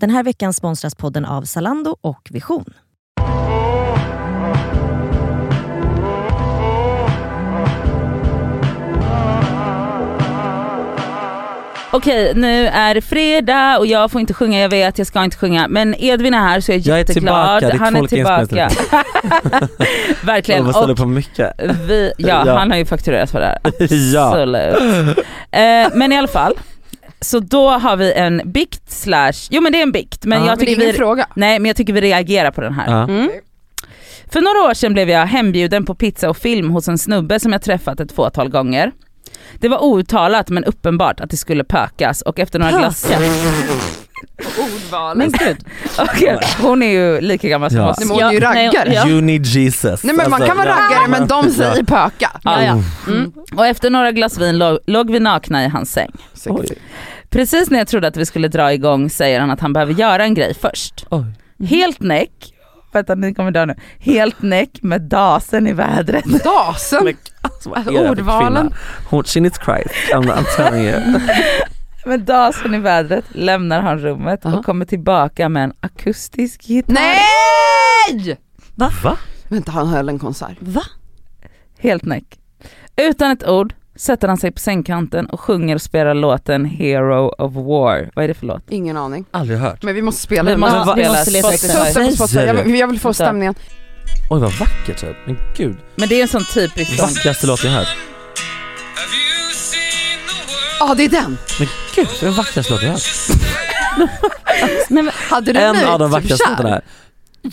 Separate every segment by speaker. Speaker 1: Den här veckan sponsras podden av Zalando och Vision.
Speaker 2: Okej, nu är det fredag och jag får inte sjunga, jag vet jag ska inte sjunga. Men Edvin är här så jag är
Speaker 3: Jag är
Speaker 2: jätteglad.
Speaker 3: tillbaka, ditt
Speaker 2: han är
Speaker 3: folk
Speaker 2: tillbaka.
Speaker 3: Jag
Speaker 2: Verkligen.
Speaker 3: måste ställa
Speaker 2: Och
Speaker 3: på mycket.
Speaker 2: vi, ja,
Speaker 3: Ja.
Speaker 2: han har ju fakturerat för det här.
Speaker 3: Ja.
Speaker 2: Absolut. Eh, men i alla fall, så då har vi en bikt slash, jo men det är en bikt men
Speaker 3: Ja.
Speaker 2: jag
Speaker 4: Men det
Speaker 2: tycker
Speaker 4: är ingen
Speaker 2: vi,
Speaker 4: fråga.
Speaker 2: nej men jag tycker vi reagerar på den här.
Speaker 3: Ja.
Speaker 4: Mm.
Speaker 2: För några år sedan blev jag hembjuden på pizza och film hos en snubbe som jag träffat ett fåtal gånger. Det var outtalat men uppenbart att det skulle pökas och efter några glassar...
Speaker 4: Ordvalet.
Speaker 2: Men gud. Okej, hon är ju lika gammal som
Speaker 3: Ja.
Speaker 2: oss.
Speaker 4: Nej, men hon är ju
Speaker 2: nej,
Speaker 4: raggare.
Speaker 2: ja.
Speaker 3: You need Jesus.
Speaker 4: Nej men man
Speaker 3: Alltså,
Speaker 4: kan vara
Speaker 3: ja.
Speaker 4: raggare men de säger
Speaker 3: Ja.
Speaker 4: pöka.
Speaker 2: Ja, ja. Mm. Och efter några glas vin låg, låg vi nakna i hans säng.
Speaker 3: Oj.
Speaker 2: Precis när jag trodde att vi skulle dra igång säger han att han behöver göra en grej först.
Speaker 3: Oj.
Speaker 2: Helt näck, vänta ni kommer dö nu, helt näck med dasen i vädret.
Speaker 4: Dasen.
Speaker 3: Men alltså, vad är det för
Speaker 4: Ordvalen.
Speaker 3: kvinna? Hon, she needs Christ, I'm, I'm telling you.
Speaker 2: Med dasen i vädret lämnar han rummet
Speaker 4: Aha.
Speaker 2: och kommer tillbaka med en akustisk gitarr.
Speaker 4: Nej!
Speaker 3: Va?
Speaker 4: Vänta han höll en konsert.
Speaker 1: Va?
Speaker 2: Helt näck. Utan ett ord sätter han sig på sängkanten och sjunger och spelar låten Hero of War. Vad är det för låt?
Speaker 4: Ingen aning.
Speaker 3: Aldrig hört.
Speaker 4: Men vi måste spela
Speaker 2: Vi
Speaker 4: den.
Speaker 2: måste
Speaker 3: Men vad-
Speaker 2: spela
Speaker 1: vi måste leta
Speaker 2: Spotify.
Speaker 1: efter
Speaker 4: Sätt den på Spotify. Jag, vill- jag vill få
Speaker 2: Vänta.
Speaker 4: stämningen.
Speaker 3: Oj vad vacker typ. Men gud.
Speaker 2: Men det är en sån typisk sån.
Speaker 3: Vackraste låt jag hört.
Speaker 5: Have you seen the world?
Speaker 4: Ja det är den.
Speaker 3: Men gud, det är den vackraste låt jag hört.
Speaker 2: Nej, men,
Speaker 4: Hade du
Speaker 3: En
Speaker 4: blivit
Speaker 3: av de
Speaker 4: typ
Speaker 3: vackraste
Speaker 4: kär?
Speaker 3: låtarna här.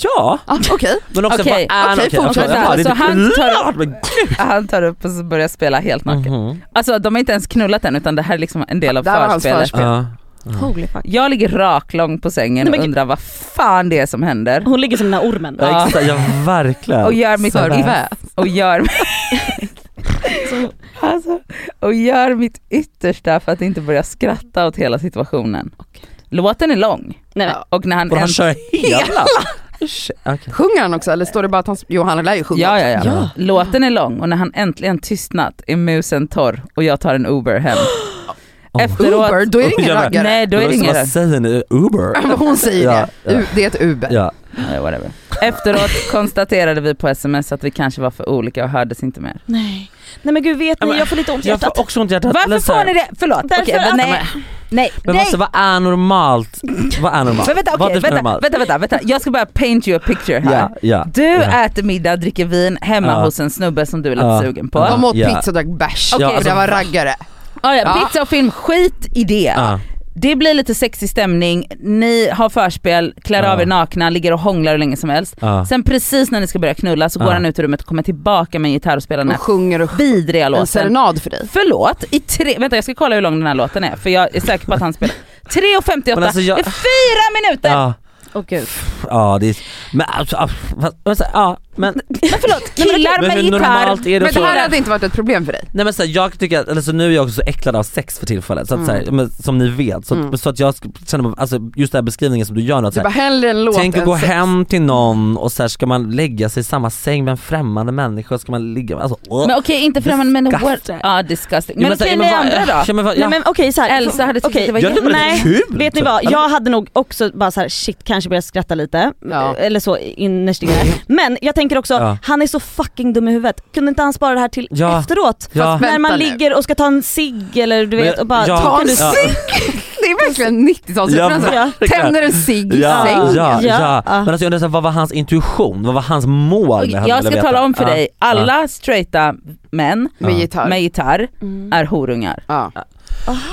Speaker 3: Ja,
Speaker 4: Ja, Okej.
Speaker 3: men också
Speaker 2: Okej,
Speaker 3: vad är
Speaker 4: okej,
Speaker 3: okej,
Speaker 4: fortsätt.
Speaker 3: absolut. Ja, det är
Speaker 2: Så
Speaker 3: typ-
Speaker 2: han tar-
Speaker 3: Men gud.
Speaker 2: han tar upp och så börjar spela helt naken.
Speaker 3: Mhm.
Speaker 2: Alltså de har inte ens knullat än utan det här är liksom en del av
Speaker 4: Det här var hans
Speaker 2: förspelet.
Speaker 4: förspel.
Speaker 3: Ja.
Speaker 1: Holy fuck.
Speaker 2: Jag ligger raklång på sängen
Speaker 1: Nej, men
Speaker 2: och undrar vad fan det är som händer.
Speaker 1: Hon ligger som den här ormen.
Speaker 3: Ja, exakt, ja verkligen.
Speaker 2: Och gör mitt
Speaker 3: Sådär.
Speaker 2: yttersta. Och gör,
Speaker 1: Så-
Speaker 2: alltså, och gör mitt yttersta för att inte börja skratta åt hela situationen. Låten är lång.
Speaker 1: Nej, men.
Speaker 2: Och när han
Speaker 3: Och han
Speaker 2: änt-
Speaker 3: kör hela. Okej.
Speaker 4: Sjunger han också eller står det bara att han, jo han lär ju sjunga.
Speaker 2: Ja, ja, ja.
Speaker 3: Ja.
Speaker 2: Låten är lång och när han äntligen tystnat är musen torr och jag tar en Uber hem.
Speaker 3: Oh.
Speaker 2: Efteråt,
Speaker 4: Uber, då är det ingen
Speaker 3: Jag vet.
Speaker 4: raggare.
Speaker 2: nej då är det ingen
Speaker 3: Vad säger ni? Uber?
Speaker 4: Hon säger
Speaker 3: Ja,
Speaker 4: det.
Speaker 3: ja.
Speaker 4: U- Det är ett Uber.
Speaker 3: Ja.
Speaker 2: Nej, whatever. Efteråt konstaterade vi på sms att vi kanske var för olika och hördes inte mer.
Speaker 1: Nej. Nej men gud vet ni, jag får lite ont i
Speaker 3: Jag
Speaker 1: hjärtat.
Speaker 3: får också ont i hjärtat.
Speaker 2: Varför
Speaker 3: Eller så
Speaker 2: får
Speaker 3: här-
Speaker 2: ni det? Förlåt.
Speaker 1: Därför
Speaker 2: Okej,
Speaker 1: att-
Speaker 2: men nej. Nej,
Speaker 3: Men
Speaker 2: nej.
Speaker 3: alltså vad är normalt? Vad är normalt?
Speaker 2: Men vänta,
Speaker 3: vad
Speaker 2: okej,
Speaker 3: är
Speaker 2: vänta,
Speaker 3: normalt?
Speaker 2: vänta, vänta, vänta. Jag ska bara paint you a picture här.
Speaker 3: Ja, ja.
Speaker 2: Du
Speaker 3: ja.
Speaker 2: äter middag, dricker vin hemma
Speaker 3: Ja.
Speaker 2: hos en snubbe som du är lite
Speaker 3: Ja.
Speaker 2: sugen på.
Speaker 3: Ja.
Speaker 4: De åt
Speaker 3: Ja.
Speaker 4: pizza och drack bärs.
Speaker 3: Okej.
Speaker 4: Och det var raggare.
Speaker 2: Ah, ja,
Speaker 4: Ja.
Speaker 2: pizza och film, skit i det.
Speaker 3: Ja.
Speaker 2: Det blir lite sexig stämning, ni har förspel, klär
Speaker 3: Ja.
Speaker 2: av er nakna, ligger och hånglar hur länge som helst.
Speaker 3: Ja.
Speaker 2: Sen precis när ni ska börja knulla så går
Speaker 3: Ja.
Speaker 2: han ut ur rummet och kommer tillbaka med en gitarr och spelar den
Speaker 4: Och
Speaker 2: här
Speaker 4: sjunger och
Speaker 2: vidriga
Speaker 4: en
Speaker 2: låten.
Speaker 4: serenad för dig.
Speaker 2: Förlåt, i tre, vänta jag ska kolla hur lång den här låten är för jag är säker på att han spelar 3.58,
Speaker 3: Men alltså jag-
Speaker 2: det är fyra minuter!
Speaker 3: Ja,
Speaker 1: Åh, gud.
Speaker 3: ja det är... Men alltså, ah, vad- vad säger- ja men...
Speaker 2: Men förlåt, killar
Speaker 3: Men
Speaker 2: med
Speaker 3: hur
Speaker 2: gitarr.
Speaker 3: normalt är det
Speaker 4: Men det
Speaker 3: så?
Speaker 4: här hade inte varit ett problem för dig.
Speaker 3: Nej men så här, jag tycker att, eller så nu är jag också så äcklad av sex för tillfället, så att, så
Speaker 2: Mm.
Speaker 3: här, men, som ni vet. Så, att-
Speaker 4: Mm.
Speaker 3: så att jag sk- känner, alltså just den här beskrivningen som du gör nu, att,
Speaker 4: Du
Speaker 3: så
Speaker 4: bara
Speaker 3: här,
Speaker 4: hellre en låt
Speaker 3: tänk att
Speaker 4: än
Speaker 3: gå
Speaker 4: sex.
Speaker 3: hem till någon och så här, ska man lägga sig i samma säng med en främmande människa, ska man ligga med, alltså, åh.
Speaker 2: Men okej inte främmande men
Speaker 3: Disgusting.
Speaker 2: what? Ja disgusting.
Speaker 3: Jo,
Speaker 2: Men
Speaker 3: så här,
Speaker 2: okej ni
Speaker 3: vad-
Speaker 2: andra då?
Speaker 3: Ja, men, vad-
Speaker 1: Nej
Speaker 3: ja.
Speaker 1: men okej såhär.
Speaker 2: Elsa hade tyckt
Speaker 1: Okej.
Speaker 2: att det var
Speaker 3: Jag tycker
Speaker 2: jätte-
Speaker 3: det är
Speaker 1: Nej,
Speaker 3: lite kul!
Speaker 1: Vet ni
Speaker 3: typ.
Speaker 1: vad, jag hade nog också bara såhär shit kanske börjat skratta lite,
Speaker 4: Ja.
Speaker 1: eller så innerst inne. Men jag tänker också,
Speaker 3: Ja.
Speaker 1: han är så fucking dum i huvudet. Kunde inte han spara det här till
Speaker 3: Ja.
Speaker 1: efteråt?
Speaker 3: Ja.
Speaker 4: Fast
Speaker 1: När
Speaker 4: vänta
Speaker 1: man
Speaker 4: nu.
Speaker 1: ligger och ska ta en cigg eller du
Speaker 3: Men-
Speaker 1: vet och bara
Speaker 3: ja.
Speaker 1: kan
Speaker 4: Ta en
Speaker 1: du-
Speaker 3: Ja.
Speaker 4: cigg! Det är verkligen 90-talsreferenser.
Speaker 1: Ja.
Speaker 4: Tänder en cigg i
Speaker 3: Ja,
Speaker 4: sängen.
Speaker 3: ja,
Speaker 1: Ja.
Speaker 3: ja. Men alltså jag undrar så här, vad var hans intuition? Vad var hans mål?
Speaker 2: Och
Speaker 3: med hade
Speaker 2: jag
Speaker 3: velat
Speaker 2: ska
Speaker 3: veta?
Speaker 2: tala om för
Speaker 3: Ja.
Speaker 2: dig, alla straighta män
Speaker 4: Med
Speaker 3: Ja.
Speaker 4: gitarr.
Speaker 2: med gitarr
Speaker 4: Mm.
Speaker 2: är horungar.
Speaker 4: Ja.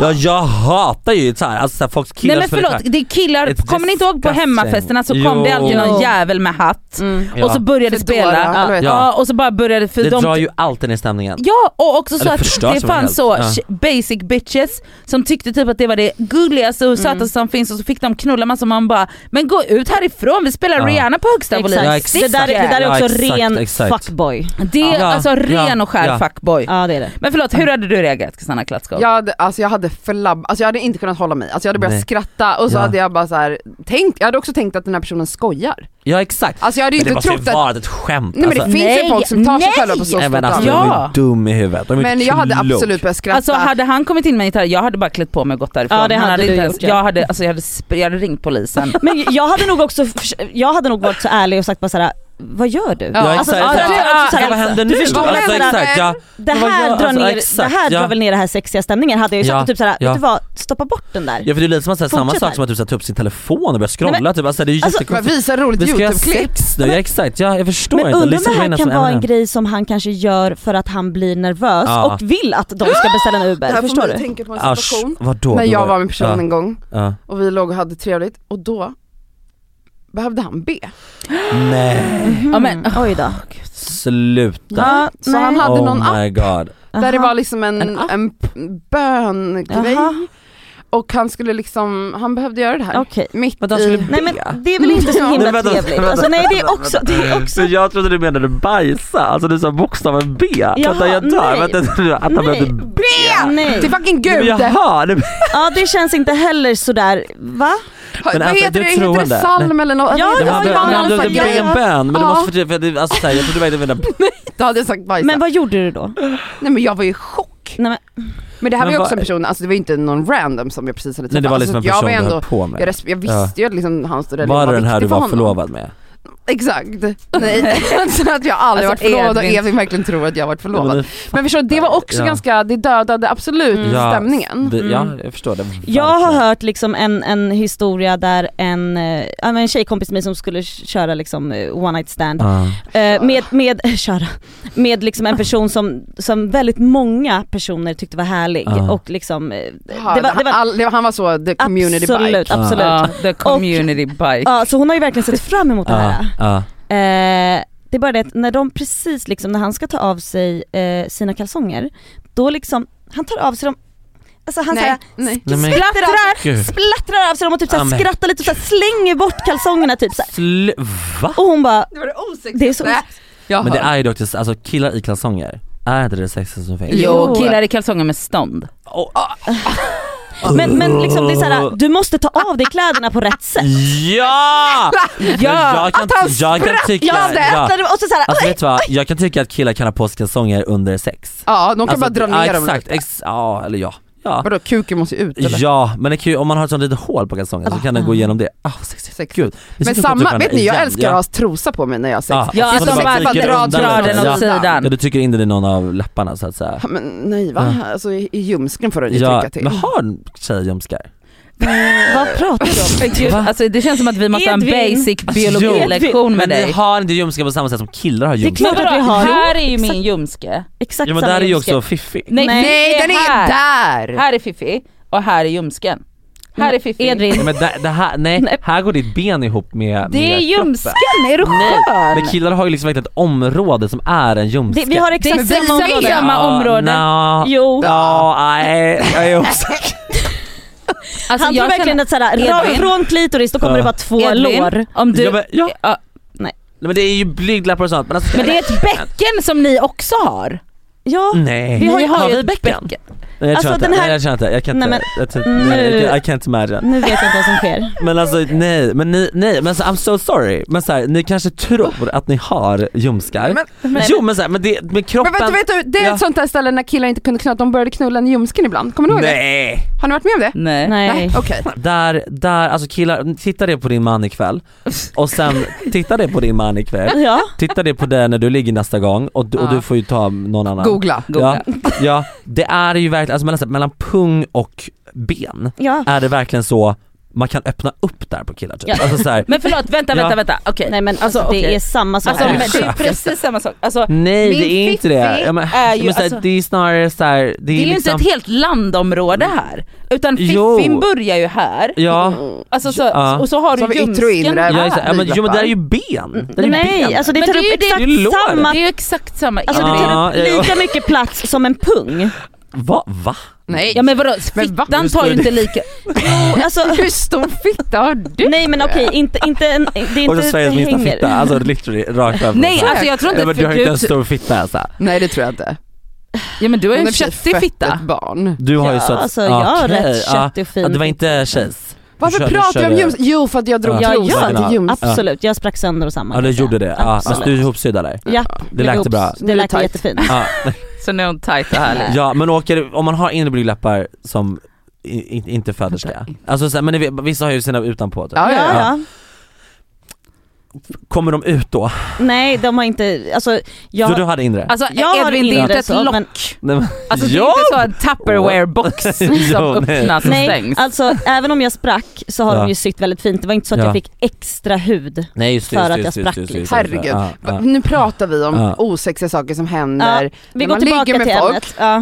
Speaker 3: Ja jag hatar ju så här, alltså så här, folks killar
Speaker 2: Nej men
Speaker 3: som är
Speaker 2: förlåt, det är killar,
Speaker 3: It's
Speaker 2: kommer ni inte ihåg på
Speaker 3: disgusting.
Speaker 2: hemmafesterna så kom
Speaker 3: Jo.
Speaker 2: det alltid någon
Speaker 4: Jo.
Speaker 2: jävel med hatt
Speaker 4: Mm.
Speaker 3: Ja.
Speaker 2: och så började
Speaker 4: Fedora, eller
Speaker 2: spela.
Speaker 4: vad
Speaker 2: Ja.
Speaker 4: heter
Speaker 3: det?
Speaker 2: och så bara började, för
Speaker 3: Det
Speaker 2: de
Speaker 3: drar ju alltid ner stämningen.
Speaker 2: Ja och också så
Speaker 3: Eller
Speaker 2: att
Speaker 3: förstörs
Speaker 2: det
Speaker 3: vad som
Speaker 2: fanns
Speaker 3: helst.
Speaker 2: så
Speaker 3: Ja.
Speaker 2: sh- basic bitches som tyckte typ att det var det gulligaste
Speaker 1: Mm.
Speaker 2: och sötaste som finns och så fick de knulla massa och man bara Men gå ut härifrån, vi spelar
Speaker 3: Ja.
Speaker 2: Rihanna på högsta volym.
Speaker 3: Ja,
Speaker 1: Exakt.
Speaker 3: exakt.
Speaker 1: Det, där, det där är
Speaker 3: Ja,
Speaker 1: också
Speaker 3: exakt,
Speaker 1: ren
Speaker 3: exakt.
Speaker 1: fuckboy.
Speaker 2: Det är
Speaker 3: Ja.
Speaker 2: alltså
Speaker 3: Ja.
Speaker 2: ren och skär
Speaker 3: Ja.
Speaker 2: fuckboy.
Speaker 1: Ja det är det.
Speaker 2: Men förlåt, hur hade du reagerat Kristina Klatskov?
Speaker 4: Jag hade, ja, alltså jag hade förlabb, alltså jag hade inte kunnat hålla mig. Alltså jag hade börjat
Speaker 3: Nej.
Speaker 4: skratta och så
Speaker 3: Ja.
Speaker 4: hade jag bara så här, tänkt, jag hade också tänkt att den här personen skojar.
Speaker 3: Ja exakt.
Speaker 4: Alltså jag hade
Speaker 3: men
Speaker 4: ju
Speaker 3: det
Speaker 4: inte
Speaker 3: måste ju
Speaker 4: trott att,
Speaker 3: varit ett skämt
Speaker 4: nej men det
Speaker 3: alltså.
Speaker 4: finns ju
Speaker 1: Nej,
Speaker 4: folk som tar sig
Speaker 1: nej!
Speaker 4: själva på så
Speaker 3: Nej, men
Speaker 4: stort
Speaker 3: alltså
Speaker 2: Ja.
Speaker 4: allvar.
Speaker 3: de är ju dum i huvudet. De är
Speaker 4: Men jag hade
Speaker 3: klok.
Speaker 4: absolut börjat skratta.
Speaker 2: Alltså hade han kommit in med en gitarr, jag hade bara klätt på mig och gått därifrån.
Speaker 1: Ja, det
Speaker 2: han
Speaker 1: hade du
Speaker 2: inte
Speaker 1: gjort, ja.
Speaker 2: jag, hade, alltså, jag, hade, sp- jag hade ringt polisen.
Speaker 1: Men jag hade nog också, förs- jag hade nog varit så ärlig och sagt bara såhär, vad gör du?
Speaker 4: Ja,
Speaker 3: Ja exakt,
Speaker 1: Alltså,
Speaker 3: alltså,
Speaker 1: för att-
Speaker 2: ja,
Speaker 1: så här,
Speaker 3: vad händer nu?
Speaker 1: Du förstår vad jag
Speaker 3: alltså,
Speaker 1: menar?
Speaker 3: exakt, ja.
Speaker 1: Det
Speaker 3: Men vad
Speaker 1: här,
Speaker 3: gör-
Speaker 1: drar,
Speaker 3: alltså,
Speaker 1: ner,
Speaker 3: exakt,
Speaker 1: det här
Speaker 3: ja.
Speaker 1: drar väl ner den här sexiga stämningen. Hade jag ju sagt
Speaker 3: Ja,
Speaker 1: och typ såhär,
Speaker 3: ja.
Speaker 1: vet du vad, stoppa bort den där.
Speaker 3: Ja för det är lite som att säga samma
Speaker 1: Fortsätt
Speaker 3: sak
Speaker 1: här.
Speaker 3: som att du sätter upp sin telefon och börjar scrolla typ, alltså, det är ju
Speaker 1: alltså,
Speaker 4: Bara
Speaker 3: jättekonstigt.
Speaker 4: visa ett roligt
Speaker 3: Vi ska göra
Speaker 4: YouTube-klipp.
Speaker 3: sex nu, ja, exakt, ja, jag förstår
Speaker 1: Men
Speaker 3: inte.
Speaker 1: undrar om
Speaker 3: Liksom,
Speaker 1: det
Speaker 3: vad är
Speaker 1: här kan
Speaker 3: som
Speaker 1: vara
Speaker 3: händer?
Speaker 1: en grej som han kanske gör för att han blir nervös
Speaker 3: Ja.
Speaker 1: och vill att de ska beställa en Uber. Förstår du?
Speaker 4: tänka på en
Speaker 3: Asch,
Speaker 4: situation.
Speaker 3: vadå?
Speaker 4: När
Speaker 3: Du
Speaker 4: jag var med personen en gång
Speaker 3: Ja, ja.
Speaker 4: och vi låg och hade trevligt och då behövde han be.
Speaker 3: Nej,
Speaker 2: Ja, men,
Speaker 1: Mm. Oj då.
Speaker 3: sluta.
Speaker 1: Ja,
Speaker 4: Så han hade någon
Speaker 3: oh
Speaker 4: app
Speaker 3: my god.
Speaker 4: där det
Speaker 1: Aha.
Speaker 4: var liksom en,
Speaker 2: En
Speaker 4: en,
Speaker 2: app?
Speaker 4: böngrej
Speaker 1: Jaha.
Speaker 4: och han skulle liksom, han behövde göra det här.
Speaker 1: Okej.
Speaker 4: Mitt
Speaker 3: Men han
Speaker 4: i...
Speaker 3: skulle
Speaker 1: Nej men det är väl inte så
Speaker 4: Ja.
Speaker 1: himla
Speaker 3: Nej, vänta,
Speaker 1: trevligt?
Speaker 3: vänta.
Speaker 1: Alltså nej det är också, det är också
Speaker 3: För jag trodde du menade bajsa, alltså du sa bokstaven B.
Speaker 1: Jaha,
Speaker 3: Vänta jag dör,
Speaker 1: nej.
Speaker 3: vänta jag trodde att han
Speaker 1: Nej.
Speaker 3: behövde B.
Speaker 1: Nej.
Speaker 4: Till fucking gud! Alltså,
Speaker 3: Men
Speaker 4: Ha-
Speaker 3: jaha, det,
Speaker 1: Ja det känns inte heller sådär, va?
Speaker 4: Vad
Speaker 3: alltså,
Speaker 4: heter
Speaker 3: du
Speaker 4: det?
Speaker 3: tror
Speaker 4: Heter
Speaker 3: det?
Speaker 4: det psalm eller något?
Speaker 1: Ja,
Speaker 4: Nej,
Speaker 1: ja,
Speaker 3: Alltså,
Speaker 4: det
Speaker 1: ja,
Speaker 4: var-
Speaker 1: men
Speaker 4: det var någon
Speaker 3: han
Speaker 1: du-
Speaker 4: slags
Speaker 3: behövde be
Speaker 4: grej.
Speaker 3: en bön, men du
Speaker 4: Ja.
Speaker 3: måste förtydliga, för det- alltså, så här, jag trodde du menade
Speaker 4: Då hade jag sagt bajsa.
Speaker 1: Men vad gjorde du då?
Speaker 4: Nej men jag var i chock.
Speaker 1: Nej, men,
Speaker 4: Men det här
Speaker 3: Men
Speaker 4: var ju också
Speaker 3: vad-
Speaker 4: en person, alltså det var ju inte någon random som jag precis hade träffat.
Speaker 3: Nej det var
Speaker 4: alltså,
Speaker 3: liksom en
Speaker 4: jag
Speaker 3: person
Speaker 4: var
Speaker 3: du
Speaker 4: ändå,
Speaker 3: höll på
Speaker 4: jag,
Speaker 3: med.
Speaker 4: res- jag visste ju att liksom hans religion
Speaker 3: Var det den här
Speaker 4: viktig
Speaker 3: du
Speaker 4: för
Speaker 3: var
Speaker 4: honom.
Speaker 3: förlovad med?
Speaker 4: Exakt. Nej, alltså att jag aldrig
Speaker 2: Alltså,
Speaker 4: varit förlovad och
Speaker 2: Edvin.
Speaker 4: Edvin verkligen tror att jag varit
Speaker 3: Ja, men
Speaker 4: förlovad. Men förstår du, det var också
Speaker 3: Ja.
Speaker 4: ganska, det dödade absolut
Speaker 3: Mm. Ja.
Speaker 4: stämningen.
Speaker 3: det- Ja,
Speaker 2: Mm.
Speaker 3: jag förstår det.
Speaker 1: Jag har
Speaker 3: verkligen.
Speaker 1: hört liksom en, en historia där en, eh, ja, men en tjejkompis till mig som skulle köra liksom eh, one night stand
Speaker 3: Ja.
Speaker 1: Eh, med, med, köra, med liksom en person som, som väldigt många personer tyckte var härlig
Speaker 3: Ja.
Speaker 1: och liksom, eh, det
Speaker 4: Ja,
Speaker 1: var, det var
Speaker 4: all, det, var- han var så, the community
Speaker 1: absolut,
Speaker 4: bike.
Speaker 1: absolut. Ja.
Speaker 2: ja, the community bike.
Speaker 1: så hon har ju verkligen sett fram emot det här.
Speaker 3: Ja, ja.
Speaker 1: Eh, det är bara det att när de precis liksom, när han ska ta av sig eh, sina kalsonger, då liksom, han tar av sig dem, alltså han
Speaker 4: Nej,
Speaker 1: såhär,
Speaker 4: nej.
Speaker 3: Nej, men-
Speaker 1: splattrar,
Speaker 3: Gud.
Speaker 1: splattrar av sig dem och typ såhär,
Speaker 3: Amen.
Speaker 1: skrattar lite och såhär, slänger bort kalsongerna typ såhär.
Speaker 3: Sl- Va?
Speaker 1: Och hon bara,
Speaker 4: Det var det osexigaste
Speaker 1: Det är så-
Speaker 4: jag
Speaker 3: Men det
Speaker 4: hört.
Speaker 3: är ju dock, det- alltså killar i kalsonger, är inte det sexigaste som finns?
Speaker 2: Jo, killar i kalsonger med stånd.
Speaker 3: Och-
Speaker 4: ah,
Speaker 1: men, men liksom det är såhär, du måste ta av dig kläderna på rätt sätt.
Speaker 3: Ja! Men jag kan,
Speaker 4: att han
Speaker 3: jag kan tycka,
Speaker 1: Ja,
Speaker 3: ja.
Speaker 1: skrattar du och så såhär,
Speaker 3: Alltså vet du vad, jag kan tycka att killar kan ha på sig kalsonger under sex.
Speaker 4: Ja, de kan
Speaker 3: alltså,
Speaker 4: bara dra ner
Speaker 3: ja,
Speaker 4: dem.
Speaker 3: Exakt, ex- ja eller ja. Ja,
Speaker 4: Vadå, kuken måste ju ut eller?
Speaker 3: ja men det kan ju, om man har ett sånt litet hål på kalsongen så kan den gå igenom det. Ah, sexigt.
Speaker 4: Sexigt.
Speaker 3: Gud. vi
Speaker 4: Men
Speaker 3: sitter och
Speaker 4: samma,
Speaker 3: pratar
Speaker 4: vet ni jag
Speaker 3: igen.
Speaker 4: älskar att ha trosa på mig när jag har sex.
Speaker 3: Ja,
Speaker 2: Ja,
Speaker 3: alltså,
Speaker 2: alltså
Speaker 3: man
Speaker 2: bara
Speaker 4: bara
Speaker 3: trycker
Speaker 4: dra-
Speaker 3: undan
Speaker 2: drar den
Speaker 3: liksom.
Speaker 2: åt
Speaker 4: Ja.
Speaker 2: sidan.
Speaker 3: Ja du trycker in den i någon av läpparna så att säga.
Speaker 4: Ja, Men nej va? Alltså i, i ljumsken får den ju
Speaker 3: Ja,
Speaker 4: trycka till.
Speaker 3: men har tjejer ljumskar?
Speaker 1: vad pratar du om?
Speaker 2: Men Gud,
Speaker 3: Va? Alltså,
Speaker 2: alltså, det känns som att vi måste ha en
Speaker 1: Edvin.
Speaker 2: basic
Speaker 1: Edvin,
Speaker 2: biologilektion med
Speaker 3: Men ni
Speaker 2: dig.
Speaker 3: har inte ljumskar på samma sätt som killar har
Speaker 1: Det är
Speaker 3: ljumskar?
Speaker 1: klart att vi har.
Speaker 2: Här är ju min
Speaker 1: exakt,
Speaker 2: ljumske.
Speaker 1: exakt
Speaker 3: Ja men
Speaker 1: samma
Speaker 3: där är ju
Speaker 1: ljumske.
Speaker 3: också fiffig.
Speaker 2: Nej,
Speaker 4: Nej
Speaker 2: det
Speaker 4: den är
Speaker 2: här.
Speaker 4: där!
Speaker 2: Här är Fifi och här är ljumsken. Här är Fifi.
Speaker 1: Edvin,
Speaker 3: Nej, men det, det här, nej,
Speaker 1: Nej.
Speaker 3: här går ditt ben ihop med,
Speaker 2: Det är
Speaker 3: med
Speaker 2: ljumsken,
Speaker 3: kroppen.
Speaker 2: är du skön?
Speaker 3: Men killar har ju liksom verkligen ett område som är en ljumske.
Speaker 1: det, vi har exakt
Speaker 2: Det är
Speaker 1: samma
Speaker 2: exakt
Speaker 1: område.
Speaker 2: samma område.
Speaker 3: Ja, no.
Speaker 1: Jo.
Speaker 3: Ja, nej, jag är osäker.
Speaker 2: Alltså,
Speaker 1: han tror
Speaker 2: jag
Speaker 1: verkligen
Speaker 2: känner-
Speaker 1: att såhär,
Speaker 2: Edvin.
Speaker 1: rakt från klitoris då kommer
Speaker 3: Ja.
Speaker 1: det bara två
Speaker 2: Edvin,
Speaker 1: lår.
Speaker 2: Om du,
Speaker 3: ja, men, ja.
Speaker 2: Ja,
Speaker 3: Nej, men det är ju blygdläppar och sånt men alltså,
Speaker 2: men det är ett bäcken som ni också har.
Speaker 1: Ja,
Speaker 3: Nej.
Speaker 1: Vi har ju-
Speaker 2: Ni
Speaker 1: har
Speaker 3: vi
Speaker 2: ett
Speaker 3: bäcken? Nej, jag
Speaker 1: Alltså,
Speaker 3: tror inte,
Speaker 1: den här-
Speaker 3: nej jag känner inte, jag kan
Speaker 1: Nej,
Speaker 3: inte,
Speaker 1: men- Mm.
Speaker 3: jag, tror inte- nej,
Speaker 1: Nu-
Speaker 3: jag, kan- I can't imagine.
Speaker 1: nu vet jag inte vad som sker.
Speaker 3: Men alltså nej, men ni, nej, men alltså, I'm so sorry. Men så här, ni kanske tror att ni har ljumskar.
Speaker 4: Men-
Speaker 3: jo men, så här, men, det, men kroppen...
Speaker 4: Men vänta, vet du, det är
Speaker 3: Ja.
Speaker 4: ett sånt där ställe när killar inte kunde knulla, de började knulla i ljumsken ibland. Kommer ni ihåg det?
Speaker 3: nej!
Speaker 4: Har ni varit med om det?
Speaker 2: Nej.
Speaker 1: Nej.
Speaker 4: Okej.
Speaker 3: Där, där, alltså killar, titta det på din man ikväll och sen titta det på din man ikväll,
Speaker 1: Ja.
Speaker 3: titta det på det när du ligger nästa gång och, du- och du
Speaker 2: Ja.
Speaker 3: får ju ta någon annan.
Speaker 4: Googla.
Speaker 3: Ja,
Speaker 2: Googla.
Speaker 3: ja, det är ju verkligen, alltså mellan, så här, mellan pung och ben
Speaker 1: ja.
Speaker 3: är det verkligen så man kan öppna upp där på killar typ.
Speaker 1: Ja.
Speaker 3: Alltså så här,
Speaker 2: Men förlåt, vänta,
Speaker 3: Ja.
Speaker 2: vänta, vänta. Okej.
Speaker 1: Nej men alltså,
Speaker 2: Alltså, okej.
Speaker 1: det är samma sak.
Speaker 2: Alltså, men det är ju
Speaker 3: Exakt.
Speaker 2: precis samma sak. Alltså,
Speaker 3: nej
Speaker 2: Min
Speaker 3: det är inte det.
Speaker 2: fiffi
Speaker 3: Ja, men,
Speaker 2: är ju,
Speaker 3: men så här,
Speaker 2: alltså-
Speaker 3: det är snarare så här, det
Speaker 2: det
Speaker 3: är,
Speaker 2: är ju inte
Speaker 3: liksom, Mm.
Speaker 2: ett helt landområde här. Utan
Speaker 3: Jo.
Speaker 2: fiffin börjar ju här.
Speaker 3: Ja,
Speaker 2: Alltså, så,
Speaker 3: Ja.
Speaker 2: Och så har
Speaker 4: Så har
Speaker 2: du
Speaker 4: vi yttre och
Speaker 2: ljumsken
Speaker 4: inre.
Speaker 2: här.
Speaker 3: ja, exakt. ja,
Speaker 2: Ah.
Speaker 3: men, jo men
Speaker 4: blygdlappar.
Speaker 3: det är ju ben. Det är ju
Speaker 1: Nej,
Speaker 3: ben.
Speaker 1: alltså det
Speaker 2: Men
Speaker 1: tar
Speaker 2: det är
Speaker 1: upp
Speaker 2: ju
Speaker 1: exakt
Speaker 3: det- Det är ju lår.
Speaker 1: samma,
Speaker 2: Det är ju exakt samma.
Speaker 1: alltså det
Speaker 3: Ja,
Speaker 1: tar
Speaker 3: ja, ja.
Speaker 1: upp lika mycket plats som en pung.
Speaker 3: Va? Va?
Speaker 4: Nej.
Speaker 2: Ja men vadå,
Speaker 4: Men va?
Speaker 2: fittan tar ju inte lika...
Speaker 1: Jo, alltså,
Speaker 4: Hur stor fitta har du?
Speaker 1: nej men okej, inte, inte en, det är
Speaker 3: Och så
Speaker 1: inte
Speaker 3: Sveriges minsta
Speaker 1: hänger.
Speaker 3: fitta, alltså literally rakt framför.
Speaker 2: Nej
Speaker 3: Så här.
Speaker 2: alltså jag tror
Speaker 3: Nej,
Speaker 2: inte...
Speaker 3: men du har
Speaker 2: för
Speaker 3: ju inte
Speaker 2: du-
Speaker 3: en stor fitta alltså.
Speaker 4: Nej det tror jag inte.
Speaker 2: Ja men du har ju
Speaker 4: Hon
Speaker 2: en
Speaker 4: i och för sig
Speaker 2: köttig
Speaker 4: fett
Speaker 2: fitta.
Speaker 4: ett barn.
Speaker 3: Du har ju
Speaker 1: Ja,
Speaker 3: så att,
Speaker 1: alltså, jag har
Speaker 3: okej,
Speaker 1: rätt
Speaker 3: ja.
Speaker 1: köttig och fin
Speaker 3: Ja, det var inte tjejs?
Speaker 4: Varför
Speaker 3: körde-
Speaker 4: pratar vi om
Speaker 3: körde-
Speaker 4: gymsa? Jo för att jag drog
Speaker 3: Ja,
Speaker 4: trosan
Speaker 3: ja.
Speaker 4: till gymsa.
Speaker 1: Absolut, jag sprack sönder och samman.
Speaker 3: Ja det
Speaker 1: kan jag
Speaker 3: gjorde det,
Speaker 1: säga.
Speaker 3: ja, fast
Speaker 1: Absolut.
Speaker 3: du är ihopsydda där.
Speaker 1: Japp,
Speaker 3: Det lät
Speaker 1: ihop-
Speaker 3: bra.
Speaker 4: Nu
Speaker 1: Det
Speaker 4: är det
Speaker 1: lät
Speaker 4: tight.
Speaker 1: jättefint.
Speaker 3: Ja,
Speaker 2: Så nu är hon tight och härlig.
Speaker 3: ja men åker, om man har inre blygdlappar som i- i- inte föderska, alltså så här, men ni vet, vissa har ju sina utanpå typ.
Speaker 4: Ja,
Speaker 1: Ja,
Speaker 4: ja, ja.
Speaker 1: ja.
Speaker 3: kommer de ut då?
Speaker 1: Nej de har inte, alltså jag,
Speaker 3: Så du hade inre?
Speaker 2: Alltså
Speaker 1: Jag har
Speaker 2: Edvin det
Speaker 1: inre
Speaker 2: är inte ett
Speaker 1: så,
Speaker 2: lock.
Speaker 1: men-
Speaker 3: Nej, men,
Speaker 2: Alltså det är
Speaker 3: ja!
Speaker 2: inte så en tupperware box som
Speaker 3: Jo, nej.
Speaker 2: öppnas och
Speaker 1: nej
Speaker 2: stängs.
Speaker 1: alltså även om jag sprack så har
Speaker 3: Ja.
Speaker 1: de ju sytt väldigt fint, det var inte så att
Speaker 3: Ja.
Speaker 1: jag fick extra hud.
Speaker 3: Nej just det,
Speaker 1: För
Speaker 3: just det,
Speaker 1: att jag
Speaker 3: just det,
Speaker 1: sprack liksom.
Speaker 3: just det,
Speaker 1: lite.
Speaker 3: just det, just det.
Speaker 4: Herregud.
Speaker 3: Ja, ja,
Speaker 4: Nu pratar vi om
Speaker 3: Ja.
Speaker 4: osexiga saker som
Speaker 1: Ja,
Speaker 4: händer.
Speaker 1: vi
Speaker 4: när
Speaker 1: går
Speaker 4: man ligger
Speaker 1: tillbaka till
Speaker 4: med folk.
Speaker 1: ämnet. Ja.
Speaker 3: ja.
Speaker 4: Eh,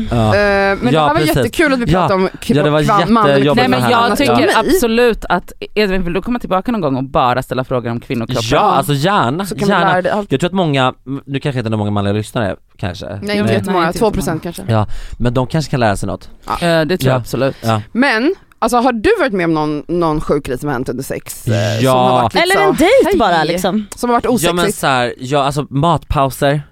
Speaker 4: men det
Speaker 3: Ja,
Speaker 4: här var
Speaker 3: precis.
Speaker 4: jättekul att vi
Speaker 3: Ja.
Speaker 4: pratade om kro-
Speaker 3: Ja, det var
Speaker 4: kva- man eller
Speaker 3: jättejobbigt
Speaker 2: Nej
Speaker 4: kvinna.
Speaker 3: med
Speaker 2: men
Speaker 3: här.
Speaker 2: jag tycker
Speaker 4: Ja.
Speaker 2: absolut att, Edvin vill du komma tillbaka någon gång och bara ställa frågor om kvinnokroppen?
Speaker 3: ja alltså gärna,
Speaker 4: Så kan vi lära
Speaker 3: gärna.
Speaker 4: dig allt.
Speaker 3: Jag tror att många, nu kanske inte är många manliga lyssnare kanske,
Speaker 4: Nej
Speaker 2: Nej.
Speaker 4: inte
Speaker 2: Nej,
Speaker 4: jättemånga,
Speaker 2: inte
Speaker 4: 2% kanske.
Speaker 3: Ja, men de kanske kan lära sig något.
Speaker 2: Eh, Det tror
Speaker 3: Ja.
Speaker 2: jag absolut.
Speaker 3: Ja.
Speaker 4: Men, alltså har du varit med om någon, någon sjuk grej som har hänt under sex? eh, Som
Speaker 3: Ja.
Speaker 4: har varit, liksom,
Speaker 1: Eller en dejt
Speaker 4: hej.
Speaker 1: bara liksom.
Speaker 4: Som har varit
Speaker 3: Ja men
Speaker 4: osexigt?
Speaker 3: så här, ja alltså matpauser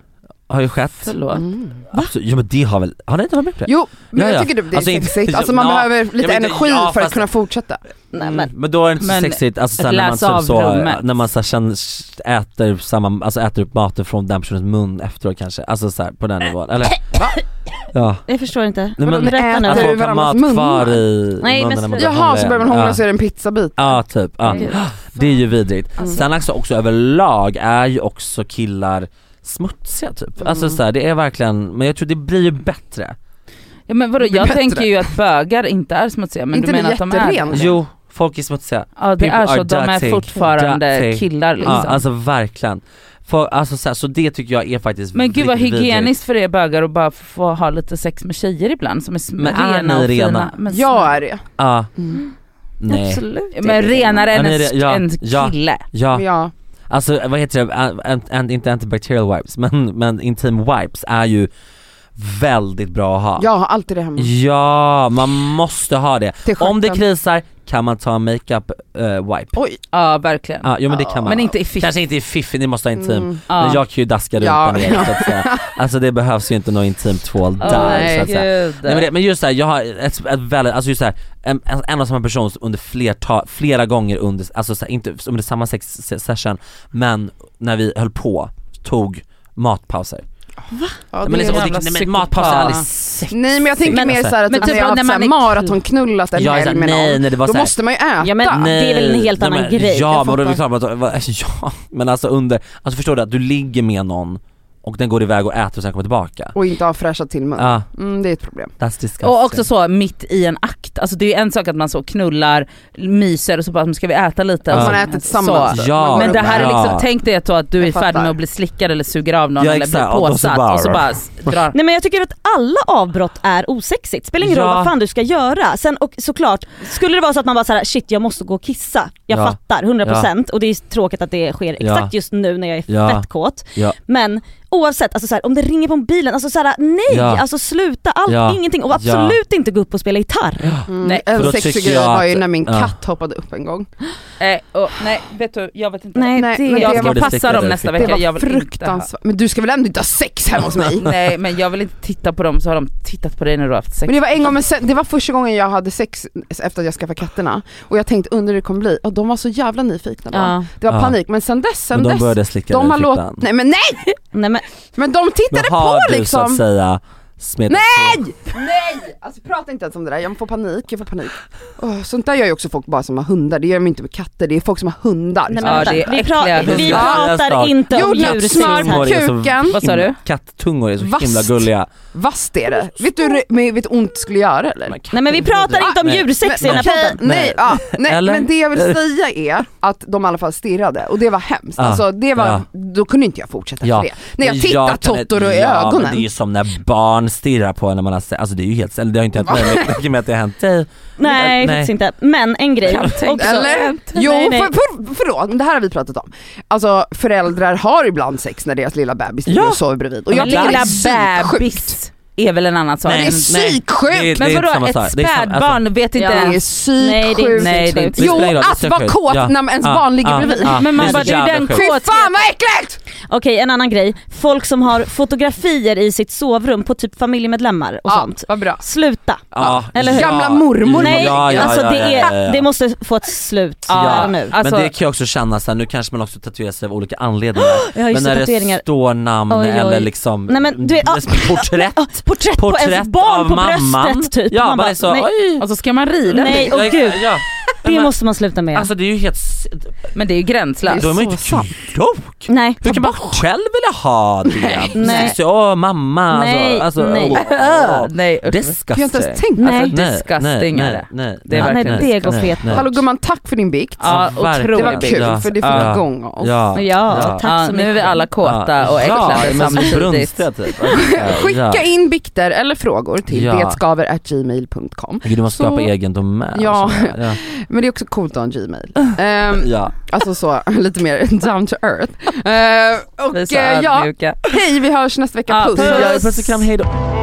Speaker 3: har ju skett.
Speaker 2: Förlåt.
Speaker 4: Mm.
Speaker 3: Absolut, ja men det har väl, har ni inte varit med på det?
Speaker 4: Jo, men
Speaker 3: Ja, ja.
Speaker 4: jag tycker det, det är
Speaker 3: Alltså, inte-
Speaker 4: sexigt. Alltså man
Speaker 3: Ja,
Speaker 4: behöver lite
Speaker 3: men det-
Speaker 4: energi
Speaker 3: ja,
Speaker 4: för att
Speaker 3: fast-
Speaker 4: kunna fortsätta.
Speaker 1: Nej, men.
Speaker 3: Mm, Men då är det inte så
Speaker 2: Men
Speaker 3: sexigt, alltså
Speaker 2: ett
Speaker 3: sen när man
Speaker 2: läs av
Speaker 3: typ så,
Speaker 2: rummet.
Speaker 3: när man så här, känner, äter samma, alltså äter upp maten från den personens mun efteråt kanske, alltså så här, på den nivån, eller?
Speaker 4: Va?
Speaker 3: Ja,
Speaker 1: Jag förstår inte.
Speaker 3: Nej, men-
Speaker 1: Berätta nu.
Speaker 4: Äter
Speaker 3: att
Speaker 4: du
Speaker 3: folk har
Speaker 4: varandras
Speaker 3: mat
Speaker 4: munnar?
Speaker 3: kvar i
Speaker 1: Nej, men
Speaker 3: munnen när man
Speaker 1: sluta.
Speaker 3: börjar
Speaker 4: Jaha, så börjar man hångla
Speaker 3: igen.
Speaker 4: så är det en pizzabit.
Speaker 3: Ja, ja typ, ja.
Speaker 1: Gud.
Speaker 3: det är ju vidrigt.
Speaker 2: Alltså.
Speaker 4: Mm.
Speaker 3: Sen också, också överlag är ju också killar smutsiga typ,
Speaker 2: Mm.
Speaker 3: alltså så här, det är verkligen, men jag tror det blir ju bättre.
Speaker 2: Ja, men vadå,
Speaker 4: Det blir
Speaker 2: jag
Speaker 4: bättre.
Speaker 2: tänker ju att bögar inte är smutsiga men
Speaker 4: inte
Speaker 2: du
Speaker 4: det
Speaker 2: menar att de är
Speaker 4: jätterent?
Speaker 3: Jo, folk är smutsiga.
Speaker 2: Ja det
Speaker 3: People
Speaker 2: är så,
Speaker 3: are
Speaker 2: de är
Speaker 3: dirty.
Speaker 2: fortfarande
Speaker 3: Dirty.
Speaker 2: killar liksom.
Speaker 3: Ja, alltså verkligen. För, alltså, så, här, så det tycker jag är faktiskt
Speaker 2: men gud vad
Speaker 3: riktigt vidrigt.
Speaker 2: hygieniskt för er bögar att bara få ha lite sex med tjejer ibland som är sm-
Speaker 3: Men är
Speaker 2: rena
Speaker 3: ni
Speaker 2: och fina.
Speaker 3: rena?
Speaker 2: Men,
Speaker 4: Jag är det.
Speaker 3: Ja,
Speaker 4: Mm.
Speaker 3: nej.
Speaker 1: Absolut.
Speaker 2: men renare än
Speaker 3: Ja, ni är
Speaker 2: en,
Speaker 3: re- ja,
Speaker 2: en
Speaker 3: ja.
Speaker 2: kille.
Speaker 3: Ja,
Speaker 4: Ja.
Speaker 3: alltså vad heter det, An- an- an- inte antibacterial wipes men, men intim wipes är ju väldigt bra att ha.
Speaker 4: Jag har alltid det hemma.
Speaker 3: Ja, man måste ha det.
Speaker 4: Till
Speaker 3: Om det
Speaker 4: stjärten.
Speaker 3: krisar kan man ta en makeup eh, wipe.
Speaker 4: Oj.
Speaker 2: Ja verkligen.
Speaker 3: Ja, jo men det kan man.
Speaker 2: Men inte i fisk.
Speaker 3: Kanske inte i fiffi, ni måste ha intim.
Speaker 4: Mm.
Speaker 2: Ja.
Speaker 3: Men jag kan ju daska
Speaker 4: Ja.
Speaker 3: rumpan ner så att säga. Alltså det behövs ju inte någon intim tvål
Speaker 2: Åh,
Speaker 3: där så att säga.
Speaker 2: gud.
Speaker 3: Nej, men, det, men just såhär, jag har ett, ett väldigt, alltså just såhär, en, en- en och samma person under flerta, flera gånger under, alltså såhär, inte under samma sex se- session, men när vi höll på, tog matpauser.
Speaker 4: Ja,
Speaker 3: men,
Speaker 4: det-
Speaker 3: liksom, och
Speaker 2: jävla
Speaker 3: det, nej, men
Speaker 2: psykopat.
Speaker 3: matpauser är aldrig sex.
Speaker 4: Nej men jag tänker
Speaker 3: Alltså, Men- alltså,
Speaker 4: mer såhär att
Speaker 2: Men
Speaker 4: typ
Speaker 2: typ
Speaker 4: när jag har
Speaker 2: när
Speaker 4: haft
Speaker 2: man
Speaker 4: såhär
Speaker 2: är-
Speaker 4: maratonknullat en
Speaker 3: Jag är såhär,
Speaker 4: helg med
Speaker 3: nej
Speaker 4: någon,
Speaker 3: nej det var
Speaker 4: då
Speaker 3: såhär,
Speaker 4: måste man ju äta.
Speaker 1: Ja, men det är väl en helt
Speaker 3: nej,
Speaker 1: annan
Speaker 3: men,
Speaker 1: grej.
Speaker 3: Ja
Speaker 1: Jag
Speaker 3: men då är det
Speaker 1: fattar.
Speaker 3: klart, att- vad- ja men alltså under, alltså förstår du att du ligger med någon och den går iväg och äter och sen kommer tillbaka.
Speaker 4: Och inte ha fräschat till munnen.
Speaker 3: Ja,
Speaker 4: Mm, det är ett problem.
Speaker 3: that's disgusting.
Speaker 2: Och också så mitt i en akt, alltså det är ju en sak att man så knullar, myser och så bara ska vi äta lite?
Speaker 3: Ja.
Speaker 2: Och så-
Speaker 4: Man äter tillsammans.
Speaker 2: Så.
Speaker 3: Ja.
Speaker 4: Man går
Speaker 2: Men det här är
Speaker 4: upp.
Speaker 2: liksom,
Speaker 3: Ja.
Speaker 2: tänk dig att, då att du
Speaker 4: Jag
Speaker 2: är i färd
Speaker 4: fattar.
Speaker 2: med att bli slickad eller suger av någon
Speaker 3: Ja,
Speaker 2: eller blir
Speaker 3: exakt. Och då så
Speaker 2: påsatt
Speaker 3: bara-
Speaker 2: och så bara s- drar.
Speaker 1: Nej men jag tycker att alla avbrott är osexigt, spelar ingen
Speaker 3: Ja.
Speaker 1: roll vad fan du ska göra. Sen och såklart, skulle det vara så att man bara såhär shit jag måste gå och kissa, jag
Speaker 3: Ja.
Speaker 1: fattar 100% och det är tråkigt att det sker
Speaker 3: Ja.
Speaker 1: exakt just nu när jag är
Speaker 3: Ja.
Speaker 1: fett kåt.
Speaker 3: Ja.
Speaker 1: Men oavsett, alltså så här, om det ringer på mobilen, alltså så här, nej,
Speaker 3: Ja.
Speaker 1: alltså sluta allt,
Speaker 3: Ja.
Speaker 1: ingenting och
Speaker 3: Ja.
Speaker 1: absolut inte gå upp och spela gitarr.
Speaker 4: Mm.
Speaker 2: Nej.
Speaker 3: För
Speaker 4: En
Speaker 3: då
Speaker 4: sexig
Speaker 3: tycker
Speaker 4: grej
Speaker 3: jag
Speaker 4: var ju
Speaker 3: att-
Speaker 4: när min
Speaker 3: ja.
Speaker 4: katt hoppade upp en gång.
Speaker 2: Eh, och, nej vet du, jag vet inte.
Speaker 1: Nej,
Speaker 4: Nej,
Speaker 1: det,
Speaker 4: men
Speaker 2: jag
Speaker 4: det
Speaker 2: ska
Speaker 4: var-
Speaker 2: passa dem nästa
Speaker 3: Det
Speaker 4: Det
Speaker 2: vecka, jag
Speaker 4: var
Speaker 2: vill inte ha.
Speaker 4: fruktansvärt. Men du ska väl ändå inte ha sex hemma hos mig?
Speaker 2: Nej men jag vill inte titta på dem så har de tittat på dig när du har haft sex.
Speaker 4: Men det var en gång, men sen, det var första gången jag hade sex efter att jag skaffade katterna. Och jag tänkte undrar hur det kommer bli. Och de var så jävla nyfikna bara.
Speaker 1: ja.
Speaker 4: Det var
Speaker 3: Ja.
Speaker 4: panik, men sen dess, sen
Speaker 3: Men de
Speaker 4: dess.
Speaker 3: började slicka
Speaker 4: de
Speaker 3: dig
Speaker 4: har
Speaker 3: i
Speaker 4: låtit,
Speaker 3: fittan.
Speaker 4: nej men nej!
Speaker 1: Nej men
Speaker 4: Men de tittade
Speaker 3: Då har
Speaker 4: på
Speaker 3: du så att
Speaker 4: liksom.
Speaker 3: säga smetat
Speaker 4: Nej! Nej! Alltså prata inte ens om det där, jag får panik, jag får panik. Åh, sånt där gör ju också folk bara som har hundar, det gör de inte med katter, det är folk som har hundar.
Speaker 1: Nej, men
Speaker 2: Ja,
Speaker 1: vänta.
Speaker 2: det är
Speaker 1: vi,
Speaker 2: äckliga
Speaker 1: pra- vi
Speaker 2: hundar.
Speaker 1: pratar
Speaker 3: Ja,
Speaker 1: inte om
Speaker 4: Jordnötssmör.
Speaker 1: djursex här.
Speaker 4: Smör. kuken.
Speaker 2: Vad sa du?
Speaker 3: Kattungor är så himla
Speaker 4: Vasst.
Speaker 3: gulliga.
Speaker 4: Vasst är det. Vet du hur men vet du hur ont det skulle göra eller?
Speaker 3: Men
Speaker 1: Nej men vi pratar inte om
Speaker 3: Nej.
Speaker 1: djursex i den här
Speaker 4: okej,
Speaker 1: podden.
Speaker 4: nej, ja, nej
Speaker 3: Eller?
Speaker 4: men det jag vill säga är att de i alla fall stirrade och det var hemskt.
Speaker 3: Ja.
Speaker 4: Alltså, det var,
Speaker 3: Ah, Ja.
Speaker 4: Då kunde inte jag fortsätta
Speaker 3: Ja.
Speaker 4: för det. När jag tittar
Speaker 3: Ja, kan-
Speaker 4: Totoro i
Speaker 3: ja,
Speaker 4: ögonen.
Speaker 3: Men det är ju som när barn stirrar på en när man har se- alltså det är ju helt, eller det har ju inte hänt mig, men jag tänker mig att det har hänt dig.
Speaker 1: Nej, faktiskt inte. Men en grej också.
Speaker 4: Eller? Jo,
Speaker 1: Nej, nej.
Speaker 4: För, för, förlåt, men det här har vi pratat om. Alltså föräldrar har ibland sex när deras lilla bebis ligger
Speaker 3: Ja.
Speaker 4: och sover bredvid. Och
Speaker 3: Ja,
Speaker 4: jag
Speaker 3: men
Speaker 4: tycker det
Speaker 2: lilla
Speaker 4: är sjukt.
Speaker 2: bebis. är väl en annan sak.
Speaker 4: det är psyksjukt!
Speaker 3: det är-
Speaker 2: Men
Speaker 3: inte
Speaker 2: vadå
Speaker 3: samma
Speaker 2: ett
Speaker 3: sak. Det är samma- alltså-
Speaker 2: spädbarn vet inte
Speaker 1: Ja.
Speaker 4: Det är
Speaker 2: ens.
Speaker 1: Nej,
Speaker 4: psyksjukt.
Speaker 1: det är inte
Speaker 2: Nej, det är
Speaker 1: psyksjukt.
Speaker 2: inte
Speaker 3: Det
Speaker 4: Jo,
Speaker 3: spelar ingen roll, det är
Speaker 4: att
Speaker 3: så
Speaker 4: vara
Speaker 3: sjukt.
Speaker 4: kåt när ens barn ligger bredvid.
Speaker 2: Men man
Speaker 3: är så
Speaker 2: bara, det är
Speaker 3: jävla
Speaker 2: den
Speaker 3: sjukt.
Speaker 4: Fy
Speaker 2: kåthet.
Speaker 4: fan vad äckligt!
Speaker 1: Okej en annan grej, folk som har fotografier i sitt sovrum på typ familjemedlemmar och sånt.
Speaker 4: vad bra.
Speaker 1: Sluta!
Speaker 3: Ja,
Speaker 1: Eller hur?
Speaker 4: Gamla mormor.
Speaker 1: Nej,
Speaker 3: Mm. Ja, ja,
Speaker 1: alltså
Speaker 3: ja,
Speaker 1: det,
Speaker 3: ja,
Speaker 1: är,
Speaker 3: ja, ja.
Speaker 1: det måste få ett slut
Speaker 2: Ja.
Speaker 1: här och nu.
Speaker 2: Alltså-
Speaker 3: men det kan jag också känna såhär, nu kanske man också tatuerar sig av olika anledningar
Speaker 1: Jag har ju
Speaker 3: Men
Speaker 1: sett
Speaker 3: när
Speaker 1: tatueringar.
Speaker 3: det står namn
Speaker 1: Oj, oj.
Speaker 3: eller liksom
Speaker 1: Nej, men du är- ah.
Speaker 3: porträtt
Speaker 1: Ah, porträtt, på ens barn
Speaker 3: av
Speaker 1: på
Speaker 3: mamman.
Speaker 1: bröstet typ.
Speaker 3: Ja,
Speaker 1: Man
Speaker 3: man
Speaker 1: bara,
Speaker 3: är så,
Speaker 1: nej,
Speaker 3: oj!
Speaker 2: Och så ska man rida.
Speaker 1: Nej.
Speaker 3: Ja,
Speaker 1: åh, gud.
Speaker 3: Ja.
Speaker 1: det
Speaker 3: Men-
Speaker 1: måste man sluta med.
Speaker 3: Alltså det är ju helt, s-
Speaker 2: Men det är ju gränslöst.
Speaker 3: då är man ju
Speaker 4: så
Speaker 3: inte
Speaker 4: sant.
Speaker 3: klok!
Speaker 1: nej.
Speaker 3: Hur kan man själv vilja ha det?
Speaker 1: Mm. Nej.
Speaker 3: Så, åh mamma,
Speaker 1: Nej,
Speaker 3: alltså, alltså
Speaker 1: nej.
Speaker 3: åh, åh.
Speaker 2: Nej usch.
Speaker 4: Jag har
Speaker 3: Disgusting.
Speaker 4: inte ens tänkt på
Speaker 1: Nej.
Speaker 4: det.
Speaker 3: Nej,
Speaker 2: Disgusting
Speaker 3: nej,
Speaker 2: är det.
Speaker 3: Nej,
Speaker 2: Det är
Speaker 3: nej,
Speaker 2: verkligen
Speaker 1: nej, det går
Speaker 3: nej,
Speaker 1: fet.
Speaker 3: nej.
Speaker 4: Hallå gumman, tack för din bikt.
Speaker 2: Ja,
Speaker 3: verkligen.
Speaker 4: Det var
Speaker 2: otrolig
Speaker 4: kul
Speaker 2: bild.
Speaker 3: Ja,
Speaker 4: för det fick
Speaker 3: ja.
Speaker 4: igång oss.
Speaker 3: Ja.
Speaker 1: Ja, tack
Speaker 2: Ja,
Speaker 1: så
Speaker 2: nu är
Speaker 1: mycket.
Speaker 2: vi alla kåta och
Speaker 3: ja,
Speaker 2: äcklade
Speaker 3: men som
Speaker 2: samtidigt.
Speaker 3: Brunstiga, typ.
Speaker 4: Skicka in bikter eller frågor till
Speaker 3: Ja.
Speaker 4: betskaver.gmail.com
Speaker 3: Gud, man
Speaker 4: Så-
Speaker 3: skapar egen domän.
Speaker 4: Ja.
Speaker 3: och sådär. ja.
Speaker 4: Men det är också coolt att ha en Gmail.
Speaker 2: Mm.
Speaker 4: Ehm,
Speaker 3: ja.
Speaker 4: alltså så, lite mer down to earth. Ehm,
Speaker 2: Vi är
Speaker 4: och
Speaker 2: så
Speaker 4: eh, ja,
Speaker 2: ödmjuka.
Speaker 4: hej vi hörs nästa vecka,
Speaker 2: Ja,
Speaker 4: puss!
Speaker 2: puss.
Speaker 3: Puss och kram, hejdå.